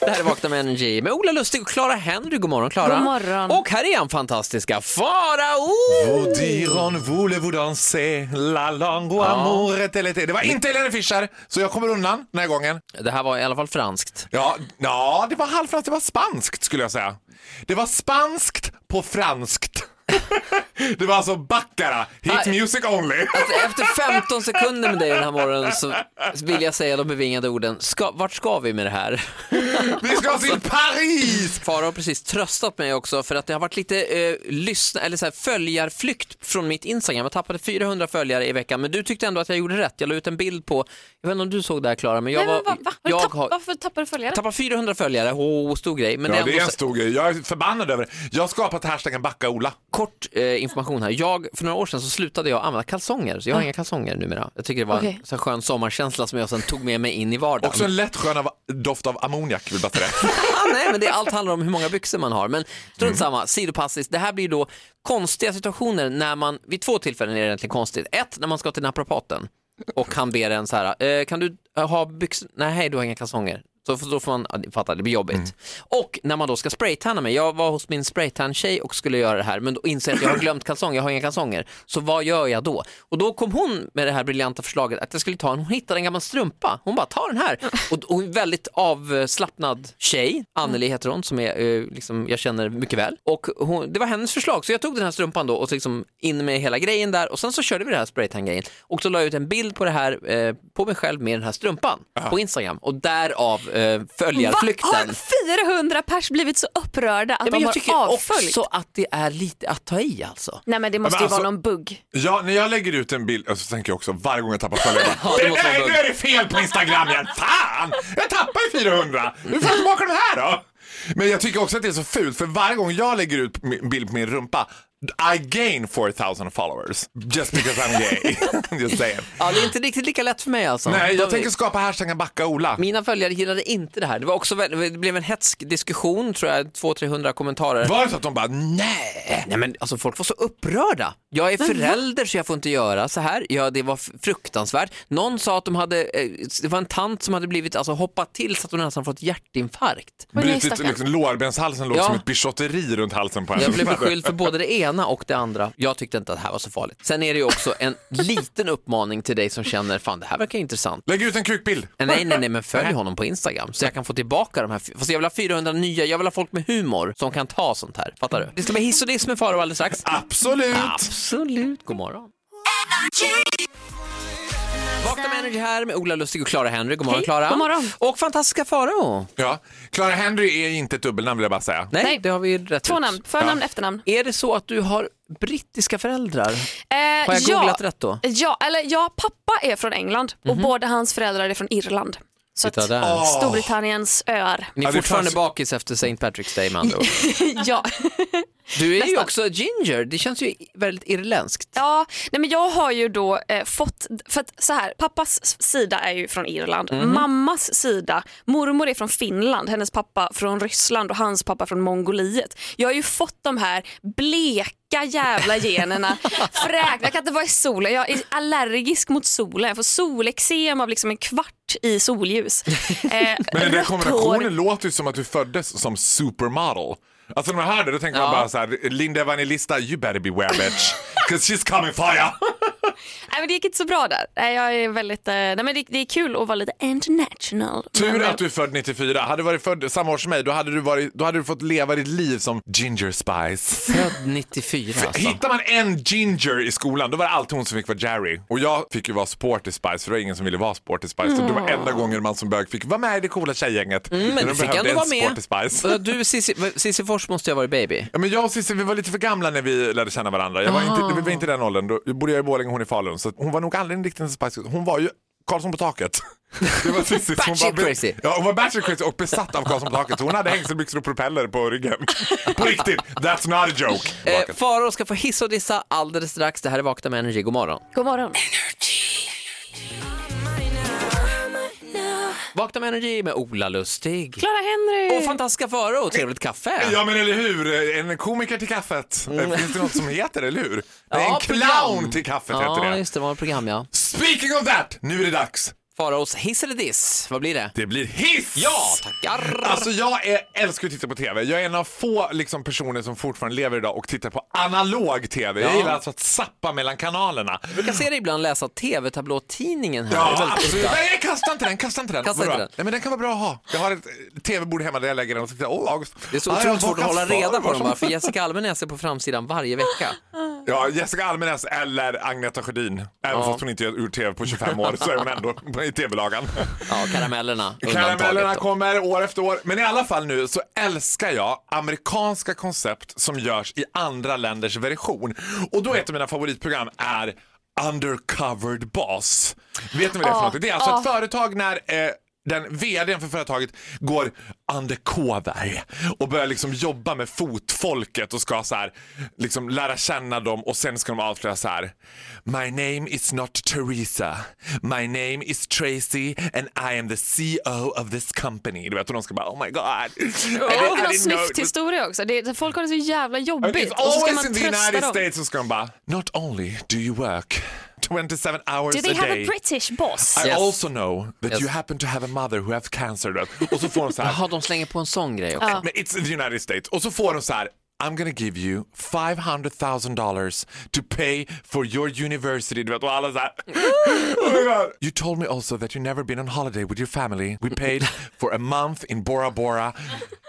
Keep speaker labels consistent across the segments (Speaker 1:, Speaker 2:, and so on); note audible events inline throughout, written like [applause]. Speaker 1: Det här är Vakna med Energy med Ola Lustig och Clara Henry. God morgon Clara.
Speaker 2: God morgon.
Speaker 1: Och här är han fantastiska Farao!
Speaker 3: Vous dire en voulez-vous danser la langue ou amour et telle, telle. Det var inte Helene Fischer, så jag kommer undan den här gången.
Speaker 1: Det här var i alla fall franskt.
Speaker 3: Ja, ja det var halvfranskt, det var spanskt skulle jag säga. Det var spanskt på franskt. [laughs] det var alltså Baccara, hit
Speaker 1: Nej.
Speaker 3: music only.
Speaker 1: [laughs] Efter 15 sekunder med dig den här morgonen så vill jag säga de bevingade orden. Ska, vart ska vi med det här?
Speaker 3: Vi ska till Paris!
Speaker 1: Farao har precis tröstat mig också för att det har varit lite eh, lyssna, eller så här, följarflykt från mitt Instagram. Jag tappade 400 följare i veckan men du tyckte ändå att jag gjorde rätt. Jag la ut en bild på, jag vet inte om du såg det här Klara, men jag
Speaker 2: Nej, men
Speaker 1: var...
Speaker 2: va, va? Har du
Speaker 1: Jag
Speaker 2: tapp,
Speaker 1: har,
Speaker 2: Varför tappade du följare?
Speaker 1: tappade 400 följare, oh, stor grej. Men
Speaker 3: Ja,
Speaker 1: ändå
Speaker 3: det är en
Speaker 1: så-
Speaker 3: stor grej. Jag är förbannad över det. Jag har skapat hashtaggen Backa Ola.
Speaker 1: kort eh, information här. Jag, för några år sedan så slutade jag använda kalsonger, så jag har inga kalsonger numera. Jag tycker det var
Speaker 2: Okej.
Speaker 1: en så här skön sommarkänsla som jag sen tog med mig in i vardagen.
Speaker 3: Också en lätt skön av, doft av ammoniak, vill bara säga
Speaker 1: [laughs]
Speaker 3: det.
Speaker 1: Ah, nej, men det, allt handlar om hur många byxor man har. Men strunt samma, sidopassis. Det här blir då konstiga situationer när man, vid två tillfällen är det egentligen konstigt. Ett, när man ska till naprapaten och han ber en så här, eh, kan du eh, ha byxor? Nej, hej, du har inga kalsonger. Så f- då får man, ja, ni fattar, det blir jobbigt. Och när man då ska spraytanna mig, jag var hos min spraytan-tjej och skulle göra det här men då inser jag att jag har glömt kalsonger, jag har inga kalsonger. Så vad gör jag då? Och då kom hon med det här briljanta förslaget att jag skulle ta en, hon hittade en gammal strumpa, hon bara ta den
Speaker 2: [laughs]
Speaker 1: här. Och, och en väldigt avslappnad tjej,
Speaker 2: Mm.
Speaker 1: Anneli heter hon, som är, eh, liksom, jag känner mycket väl. Och hon, det var hennes förslag, så jag tog den här strumpan då och så liksom in med hela grejen där och sen så körde vi den här spraytan-grejen. Och så la jag ut en bild på det här, eh, på mig själv med den här strumpan på Instagram och därav eh, följarflykten.
Speaker 2: Va, har 400 pers blivit så upprörda att
Speaker 1: Ja, men
Speaker 2: de
Speaker 1: jag
Speaker 2: har
Speaker 1: tycker
Speaker 2: avföljt?
Speaker 1: också att det är lite att ta i alltså.
Speaker 2: Nej men det måste ju
Speaker 3: Men alltså-
Speaker 2: vara någon bugg.
Speaker 3: Ja, när jag lägger ut en bild, alltså, så tänker jag också varje gång jag tappar följare,
Speaker 1: [laughs] Ja,
Speaker 3: bara,
Speaker 1: det
Speaker 3: "Det
Speaker 1: måste
Speaker 3: där-
Speaker 1: vara
Speaker 3: nu
Speaker 1: bugg."
Speaker 3: är det fel på Instagram igen, fan! Jag tappar ju 400, hur får jag tillbaka de här då? Men jag tycker också att det är så fult, för varje gång jag lägger ut en bild på min rumpa, I gain 4000 followers, just because I'm gay. [laughs] just saying.
Speaker 1: Ja, det är inte riktigt lika lätt för mig alltså.
Speaker 3: Nej, jag
Speaker 1: De-
Speaker 3: tänker skapa hashtaggen backa Ola.
Speaker 1: Mina följare gillade inte det här. Det, var också, väl- det blev en hätsk diskussion, tror jag, 200-300 kommentarer.
Speaker 3: Var det så att de bara, nej?
Speaker 1: Nej men alltså folk var så upprörda. Jag är förälder så jag får inte göra så här. Ja, det var f- fruktansvärt. Någon sa att de hade, eh, det var en tant som hade blivit, alltså hoppat till så att hon nästan fått hjärtinfarkt.
Speaker 2: Oj, nej,
Speaker 3: Brutit
Speaker 2: stackarn.
Speaker 3: liksom, lårbenshalsen låg
Speaker 1: Ja.
Speaker 3: som ett bichotteri runt halsen på henne.
Speaker 1: Jag blev beskylld för både det ena och det andra. Jag tyckte inte att det här var så farligt. Sen är det ju också en liten uppmaning till dig som känner, fan det här verkar intressant.
Speaker 3: Lägg ut en kukbild.
Speaker 1: Nej, nej, nej, men följ honom på Instagram så jag kan få tillbaka de här. fy- Fast jag vill ha 400 nya, jag vill ha folk med humor som kan ta sånt här. Fattar du? Det ska bli hiss och diss med Farao alldeles strax.
Speaker 3: Absolut.
Speaker 1: Absolut. God morgon. Vakna med Energy här med Ola Lustig och Clara Henry. God morgon
Speaker 2: Hej.
Speaker 1: Clara.
Speaker 2: God morgon.
Speaker 1: Och fantastiska Farao.
Speaker 3: Ja, Clara Henry är inte ett dubbelnamn vill jag bara säga.
Speaker 1: Nej,
Speaker 2: Nej.
Speaker 1: det har vi ju rätt
Speaker 2: Två
Speaker 1: ut.
Speaker 2: namn, förnamn, efternamn.
Speaker 1: Är det så att du har brittiska föräldrar?
Speaker 2: Eh,
Speaker 1: Har jag
Speaker 2: ja,
Speaker 1: googlat rätt då?
Speaker 2: Ja, eller ja, pappa är från England och båda hans föräldrar är från Irland. Så
Speaker 1: Titta
Speaker 2: att,
Speaker 1: där.
Speaker 2: Storbritanniens öar.
Speaker 1: [laughs] Ni
Speaker 3: Ja,
Speaker 1: är
Speaker 3: det
Speaker 1: fortfarande
Speaker 3: fanns-
Speaker 1: bakis efter St. Patrick's Day med
Speaker 2: [laughs]
Speaker 1: andra ord.
Speaker 2: ja.
Speaker 1: Du är ju
Speaker 2: Nästan.
Speaker 1: också ginger, det känns ju väldigt irländskt.
Speaker 2: Ja, nej men jag har ju då eh, fått, för att så här, pappas s- sida är ju från Irland,
Speaker 3: Mhm.
Speaker 2: mammas sida, mormor är från Finland, hennes pappa från Ryssland och hans pappa från Mongoliet. Jag har ju fått de här bleka
Speaker 3: [laughs]
Speaker 2: jävla generna, fräkna, jag kan inte vara i solen, jag är allergisk mot solen, jag får solexem av liksom en kvart i
Speaker 3: [laughs]
Speaker 2: solljus. Eh,
Speaker 3: Men den där
Speaker 2: rött hår.
Speaker 3: kombinationen låter ju som att du föddes som supermodel. Alltså när man hör det då tänker man bara så här, Linda Evangelista, you better beware
Speaker 1: [laughs]
Speaker 3: bitch. Cause she's coming for ya.
Speaker 2: Nej, men det gick inte så bra där. Nej, jag är väldigt, eh, nej, men det, det är kul att vara lite international.
Speaker 3: Tur
Speaker 2: men, eh,
Speaker 3: att du är född 94. Hade du varit född samma år som mig då hade du, varit, då hade du fått leva ditt liv som ginger spice.
Speaker 1: Född 94 alltså.
Speaker 3: Hittar man en ginger i skolan då var det alltid hon som fick vara Jerry. Och jag fick ju vara sporty spice för det var ingen som ville vara sporty spice. Så det var enda gången man som bög fick vara med i det coola tjejgänget.
Speaker 1: Mm,
Speaker 3: När
Speaker 1: men
Speaker 3: de
Speaker 1: du fick
Speaker 3: behövde
Speaker 1: ändå
Speaker 3: en
Speaker 1: vara med.
Speaker 3: sporty spice.
Speaker 1: Vadå, Du, Cissi- Cissi Fors måste ju ha varit baby. Eh,
Speaker 3: Ja, men jag och Cissi, vi var lite för gamla när vi lärde känna varandra. Jag var inte, vi var inte i den åldern. Då bodde jag i Borlänge och hon i Falun. Så att hon var nog aldrig en riktig spice Girl. Hon var ju Karlsson på
Speaker 1: [laughs]
Speaker 3: taket. Det var Cissi. så hon
Speaker 1: Batshit
Speaker 3: var-
Speaker 1: crazy.
Speaker 3: Ja, hon var batshit crazy och besatt av Karlsson på taket. Så hon hade hängselbyxor och propeller
Speaker 1: [laughs]
Speaker 3: på ryggen. På riktigt. That's not a joke.
Speaker 1: Eh, Farao ska få hissa och dissa alldeles strax. Det här är Vakna med Energy. God morgon.
Speaker 2: God morgon.
Speaker 1: Vakna med Energy med Ola Lustig.
Speaker 2: Clara Henry.
Speaker 1: Och fantastiska Farao och trevligt kaffe.
Speaker 3: Ja men eller hur, en komiker till kaffet. Eh, Finns det något som heter eller hur? Nej,
Speaker 1: Mm. Ja,
Speaker 3: en
Speaker 1: program.
Speaker 3: clown till kaffet
Speaker 1: ja,
Speaker 3: heter det.
Speaker 1: just det. var ett program, ja.
Speaker 3: Speaking of that, nu är det dags
Speaker 1: Faraos hiss eller diss? Vad blir det?
Speaker 3: Det blir hiss!
Speaker 1: Ja, tackar!
Speaker 3: Alltså jag är, älskar att titta på TV. Jag är en av få liksom, personer som fortfarande lever idag och tittar på analog TV. Jag
Speaker 1: Ja.
Speaker 3: gillar alltså att zappa mellan kanalerna.
Speaker 1: Jag ser dig ibland läsa TV-tablåtidningen här. Det är
Speaker 3: Ja,
Speaker 1: väldigt
Speaker 3: absolut.
Speaker 1: ofta.
Speaker 3: Nej, kasta inte den, kasta inte den.
Speaker 1: Kasta
Speaker 3: Vadå?
Speaker 1: inte den.
Speaker 3: Nej, men den kan vara bra att ha. Jag har ett eh, TV-bord hemma där jag lägger den och tittar. Åh, August.
Speaker 1: Det är så
Speaker 3: Ja, jag
Speaker 1: otroligt
Speaker 3: har
Speaker 1: svårt att hålla
Speaker 3: bakat
Speaker 1: reda på
Speaker 3: farbror
Speaker 1: dem
Speaker 3: som-
Speaker 1: bara, för Jessica Almenäs är på framsidan varje vecka.
Speaker 3: Ja, Jessica Almenäs eller Agneta Sjödin. Även fast hon inte är ur TV på 25 år så är hon ändå i TV-lagan.
Speaker 1: Ja, karamellerna
Speaker 3: Karamellerna
Speaker 1: undantaget då.
Speaker 3: kommer år efter år. Men i alla fall nu så älskar jag amerikanska koncept som görs i andra länders version. Och då ett av mina favoritprogram är Undercovered Boss. Vet ni vad det är för något? Det är alltså ett företag när eh, den vdn för företaget går undercover och börjar liksom jobba med fotfolket och ska så här, liksom lära känna dem och sen ska de avslöja så här. My name is not Teresa. My name is Tracy and I am the CEO of this company. Du vet, och de ska bara oh my god. I didn't-
Speaker 2: Och
Speaker 3: I
Speaker 2: det är någon
Speaker 3: didn't know it was-
Speaker 2: snyfthistoria också. Det är, folk har det så jävla jobbigt
Speaker 3: It's
Speaker 2: och så ska
Speaker 3: always
Speaker 2: man
Speaker 3: in the
Speaker 2: trösta
Speaker 3: United
Speaker 2: dem.
Speaker 3: States. Och ska de bara not only do you work 27 hours
Speaker 2: Do they
Speaker 3: a
Speaker 2: have
Speaker 3: day.
Speaker 2: a British boss?
Speaker 3: I
Speaker 1: Yes.
Speaker 3: also know that
Speaker 1: Yes.
Speaker 3: you happen to have a mother who has cancer. du vet. Och så får
Speaker 1: [laughs]
Speaker 3: de så här.
Speaker 1: Jaha, de slänger på en sån grej också.
Speaker 3: Men it's the United States. Och så får de så här. I'm gonna give you 500,000 dollars to pay for your university. Du vet, och alla så här.
Speaker 1: [laughs]
Speaker 3: [laughs] oh my God. You told me also that you never been on holiday with your family. We paid
Speaker 1: [laughs]
Speaker 3: for a month in Bora Bora.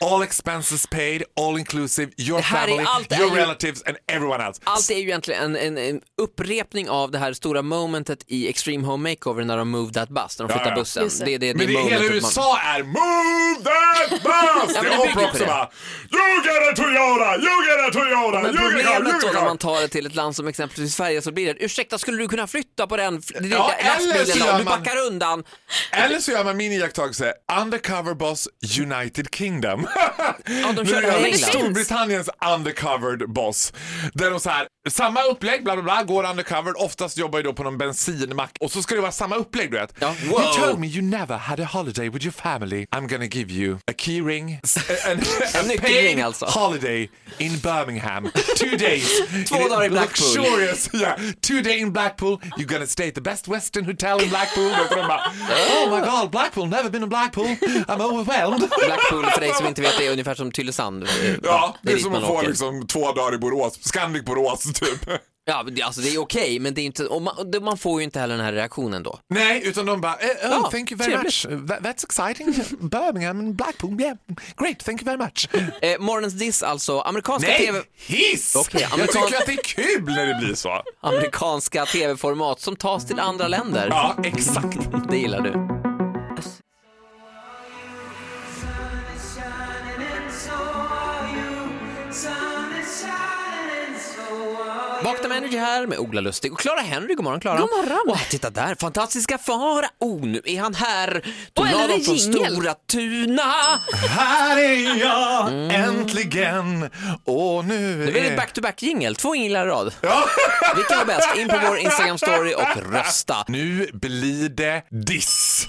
Speaker 3: All expenses paid, all inclusive. Your
Speaker 1: Det här är-
Speaker 3: family,
Speaker 1: allt är
Speaker 3: your
Speaker 1: ju-
Speaker 3: relatives and everyone else.
Speaker 1: Allt är ju egentligen en, en, en upprepning av det här stora momentet i Extreme Home Makeover när de move that bus, när de
Speaker 3: Ja,
Speaker 1: flyttar
Speaker 3: ja.
Speaker 1: bussen.
Speaker 2: Just
Speaker 1: Det,
Speaker 2: det.
Speaker 1: det, det,
Speaker 3: Men det hela
Speaker 1: momentet man-
Speaker 3: USA är Move that bus!
Speaker 1: men
Speaker 3: det
Speaker 1: det
Speaker 3: är
Speaker 1: bygger
Speaker 3: opera
Speaker 1: på
Speaker 3: också
Speaker 1: det.
Speaker 3: va? You get a Toyota, you get a Toyota,
Speaker 1: Men
Speaker 3: you get a car, you
Speaker 1: problemet då
Speaker 3: get a
Speaker 1: när
Speaker 3: car.
Speaker 1: man tar det till ett land som exempelvis Sverige så blir det, ursäkta skulle du kunna flytta på den f- lilla
Speaker 3: Ja, eller
Speaker 1: lastbilen
Speaker 3: så gör
Speaker 1: om du
Speaker 3: man-
Speaker 1: backar undan?
Speaker 3: Eller så gör man min iakttagelse, Undercover Boss United Kingdom.
Speaker 1: Ja, de
Speaker 3: Nu
Speaker 1: kör
Speaker 3: är
Speaker 1: det här i
Speaker 3: jag
Speaker 1: England.
Speaker 3: Storbritanniens Undercovered Boss. Där de så här, samma upplägg, bla bla bla, går undercover, oftast jobbar ju då på någon bensinmack och så ska det vara samma upplägg du vet.
Speaker 1: Ja.
Speaker 3: You
Speaker 1: Wow.
Speaker 3: told me you never had a holiday with your family. I'm gonna give you a keyring, s-
Speaker 1: [laughs]
Speaker 3: a- an- a
Speaker 1: nyckelring
Speaker 3: paid
Speaker 1: alltså.
Speaker 3: holiday in Birmingham. Two
Speaker 1: [laughs]
Speaker 3: days.
Speaker 1: Två dagar i Blackpool.
Speaker 3: Luxurious, yeah. Two day in Blackpool. You're gonna stay at the best western hotel in Blackpool. Och
Speaker 1: [laughs]
Speaker 3: de bara, oh my god, Blackpool, never been in Blackpool. I'm overwhelmed. [laughs]
Speaker 1: Blackpool för dig som inte vet det är ungefär som Tylösand. eh,
Speaker 3: Ja, det är
Speaker 1: dit
Speaker 3: som
Speaker 1: man
Speaker 3: att få
Speaker 1: åker.
Speaker 3: liksom två dagar i Borås, Scandic Borås [laughs] typ.
Speaker 1: Ja, men det- alltså det är okej, men det är inte, och man, och det- man får ju inte heller den här reaktionen då.
Speaker 3: Nej, utan de bara, eh, oh,
Speaker 1: Ja,
Speaker 3: thank you very
Speaker 1: trevligt.
Speaker 3: much. That, that's exciting. Birmingham and Blackpool, yeah. Great, thank you very much.
Speaker 1: Eh, morgonens diss alltså, amerikanska
Speaker 3: Nej,
Speaker 1: TV...
Speaker 3: hiss!
Speaker 1: Okej,
Speaker 3: Jag
Speaker 1: amerikan-
Speaker 3: tycker att det är kul när det blir så.
Speaker 1: amerikanska tv-format som tas till andra länder.
Speaker 3: Ja, exakt.
Speaker 1: Det gillar du. Vakna med Energy här med Ola Lustig och Clara Henry. God morgon Clara.
Speaker 2: God morgon.
Speaker 1: Åh, titta där, fantastiska fara. Oh, nu är han här.
Speaker 2: Åh, eller är
Speaker 1: Tornadon
Speaker 2: det
Speaker 1: från
Speaker 2: jingel?
Speaker 1: Stora Tuna.
Speaker 3: Här är jag äntligen och Mm. nu
Speaker 1: Nu är det back-to-back jingel, två jinglar i rad.
Speaker 3: Ja.
Speaker 1: Vilken var bäst? In på vår Instagram-story och rösta.
Speaker 3: Nu blir det diss.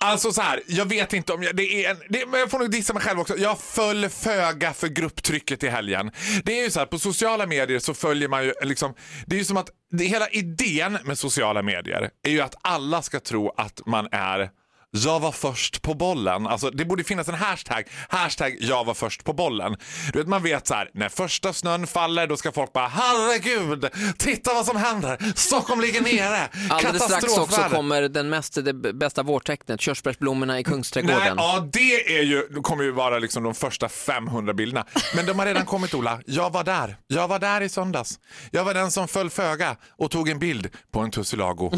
Speaker 3: Alltså så här, jag vet inte om jag, det är en, det, men jag får nog dissa mig själv också. Jag föll föga för grupptrycket i helgen. Det är ju så här, på sociala medier så följer man ju liksom, det är ju som att det, hela idén med sociala medier är ju att alla ska tro att man är jag var först på bollen. Alltså, det borde finnas en hashtag. Hashtag jag var först på bollen. Du vet, man vet så här, när första snön faller då ska folk bara herregud, titta vad som händer. Stockholm ligger nere.
Speaker 1: Alldeles strax också
Speaker 3: Katastrofvärld."
Speaker 1: kommer den mest, det bästa vårtecknet, körsbärsblommorna i
Speaker 3: Nej,
Speaker 1: Kungsträdgården.
Speaker 3: ja, det är ju, det kommer ju vara liksom de första 500 bilderna. Men de har redan kommit, Ola. Jag var där. Jag var där i söndags. Jag var den som föll föga och tog en bild på en tussilago.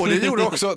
Speaker 3: och det gjorde också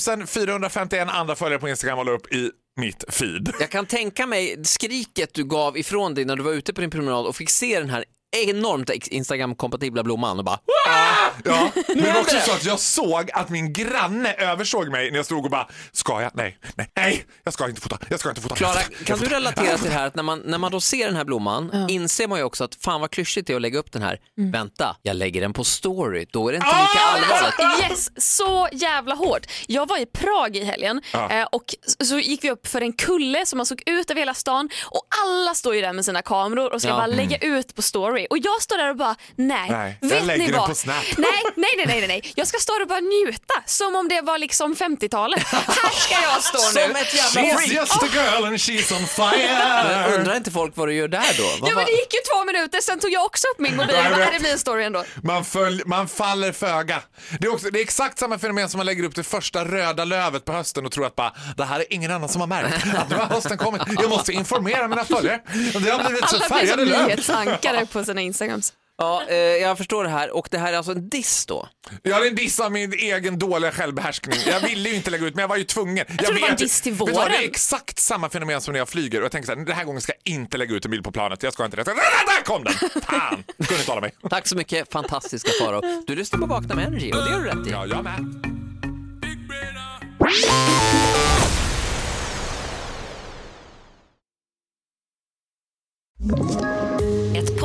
Speaker 3: 3451 andra följare på Instagram och la upp i mitt feed.
Speaker 1: Jag kan tänka mig skriket du gav ifrån dig när du var ute på din promenad och fick se den här enormt ex- Instagram-kompatibla blomman och bara
Speaker 3: Ja, men det var
Speaker 1: händer
Speaker 3: också
Speaker 1: det.
Speaker 3: så att jag såg att min granne översåg mig när jag stod och bara, ska jag? Nej, nej, nej, jag ska inte fota, jag ska inte fota. jag
Speaker 1: Klara,
Speaker 3: ska inte fota,
Speaker 1: kan
Speaker 3: jag
Speaker 1: du
Speaker 3: ska inte fota."
Speaker 1: relatera till det här att när man, när man då ser den här blomman inser man ju också att fan vad klyschigt det är att lägga upp den här. Vänta, jag lägger den på story, då är det inte lika
Speaker 3: Ah!
Speaker 1: allvarligt.
Speaker 2: Alltså, yes, så jävla hårt. Jag var i Prag i helgen eh, och s- så gick vi upp för en kulle som man såg ut över hela stan och alla står ju där med sina kameror och ska
Speaker 1: Ja.
Speaker 2: bara lägga ut på story. arg och jag står där och bara nej,
Speaker 3: Mm. Nej, jag
Speaker 2: vet
Speaker 3: lägger
Speaker 2: ni
Speaker 3: den
Speaker 2: vad?
Speaker 3: på Snap.
Speaker 2: Nej, nej, nej, nej, nej, nej. Jag ska stå där och bara njuta som om det var liksom
Speaker 3: [laughs]
Speaker 2: 50-talet. Här ska jag stå nu.
Speaker 1: Som ett jävla
Speaker 3: She's
Speaker 1: freak.
Speaker 3: just a girl and she's on fire.
Speaker 1: Men undrar inte folk vad du gör där då? Vad
Speaker 2: Ja, men det
Speaker 1: fan-
Speaker 2: gick ju två minuter, sen tog jag också upp min mobil.
Speaker 3: Jag
Speaker 2: Vad
Speaker 3: vet.
Speaker 2: är det min story ändå?
Speaker 3: Man, följ, man faller föga. Det är, också, det är exakt samma fenomen som man lägger upp det första röda lövet på hösten och tror att bara, det här är ingen annan som har märkt. Att nu har hösten kommit. Jag måste informera mina följare. Det har blivit så
Speaker 2: Alla blir som
Speaker 3: färgade
Speaker 2: liksom
Speaker 3: löv.
Speaker 2: nyhetsankare på sina Instagrams.
Speaker 1: Ja, eh, jag förstår det här och det här är alltså en diss då.
Speaker 3: Jag hade en diss av min egen dåliga självbehärskning. Jag ville ju inte lägga ut men jag var ju tvungen. Jag,
Speaker 2: det var en
Speaker 3: vet ju-
Speaker 2: diss till
Speaker 3: vet du vad,
Speaker 2: våren.
Speaker 3: Det är exakt samma fenomen som när jag flyger och jag tänker så här, den här gången ska jag inte lägga ut en bild på planet. Jag ska inte det. [laughs] Där kom den! Fan! Kunde inte hålla mig.
Speaker 1: Tack så mycket, fantastiska Faro. Du lyssnar på Vakna med Energy och det gör du rätt i.
Speaker 3: Ja, jag med.
Speaker 4: Ett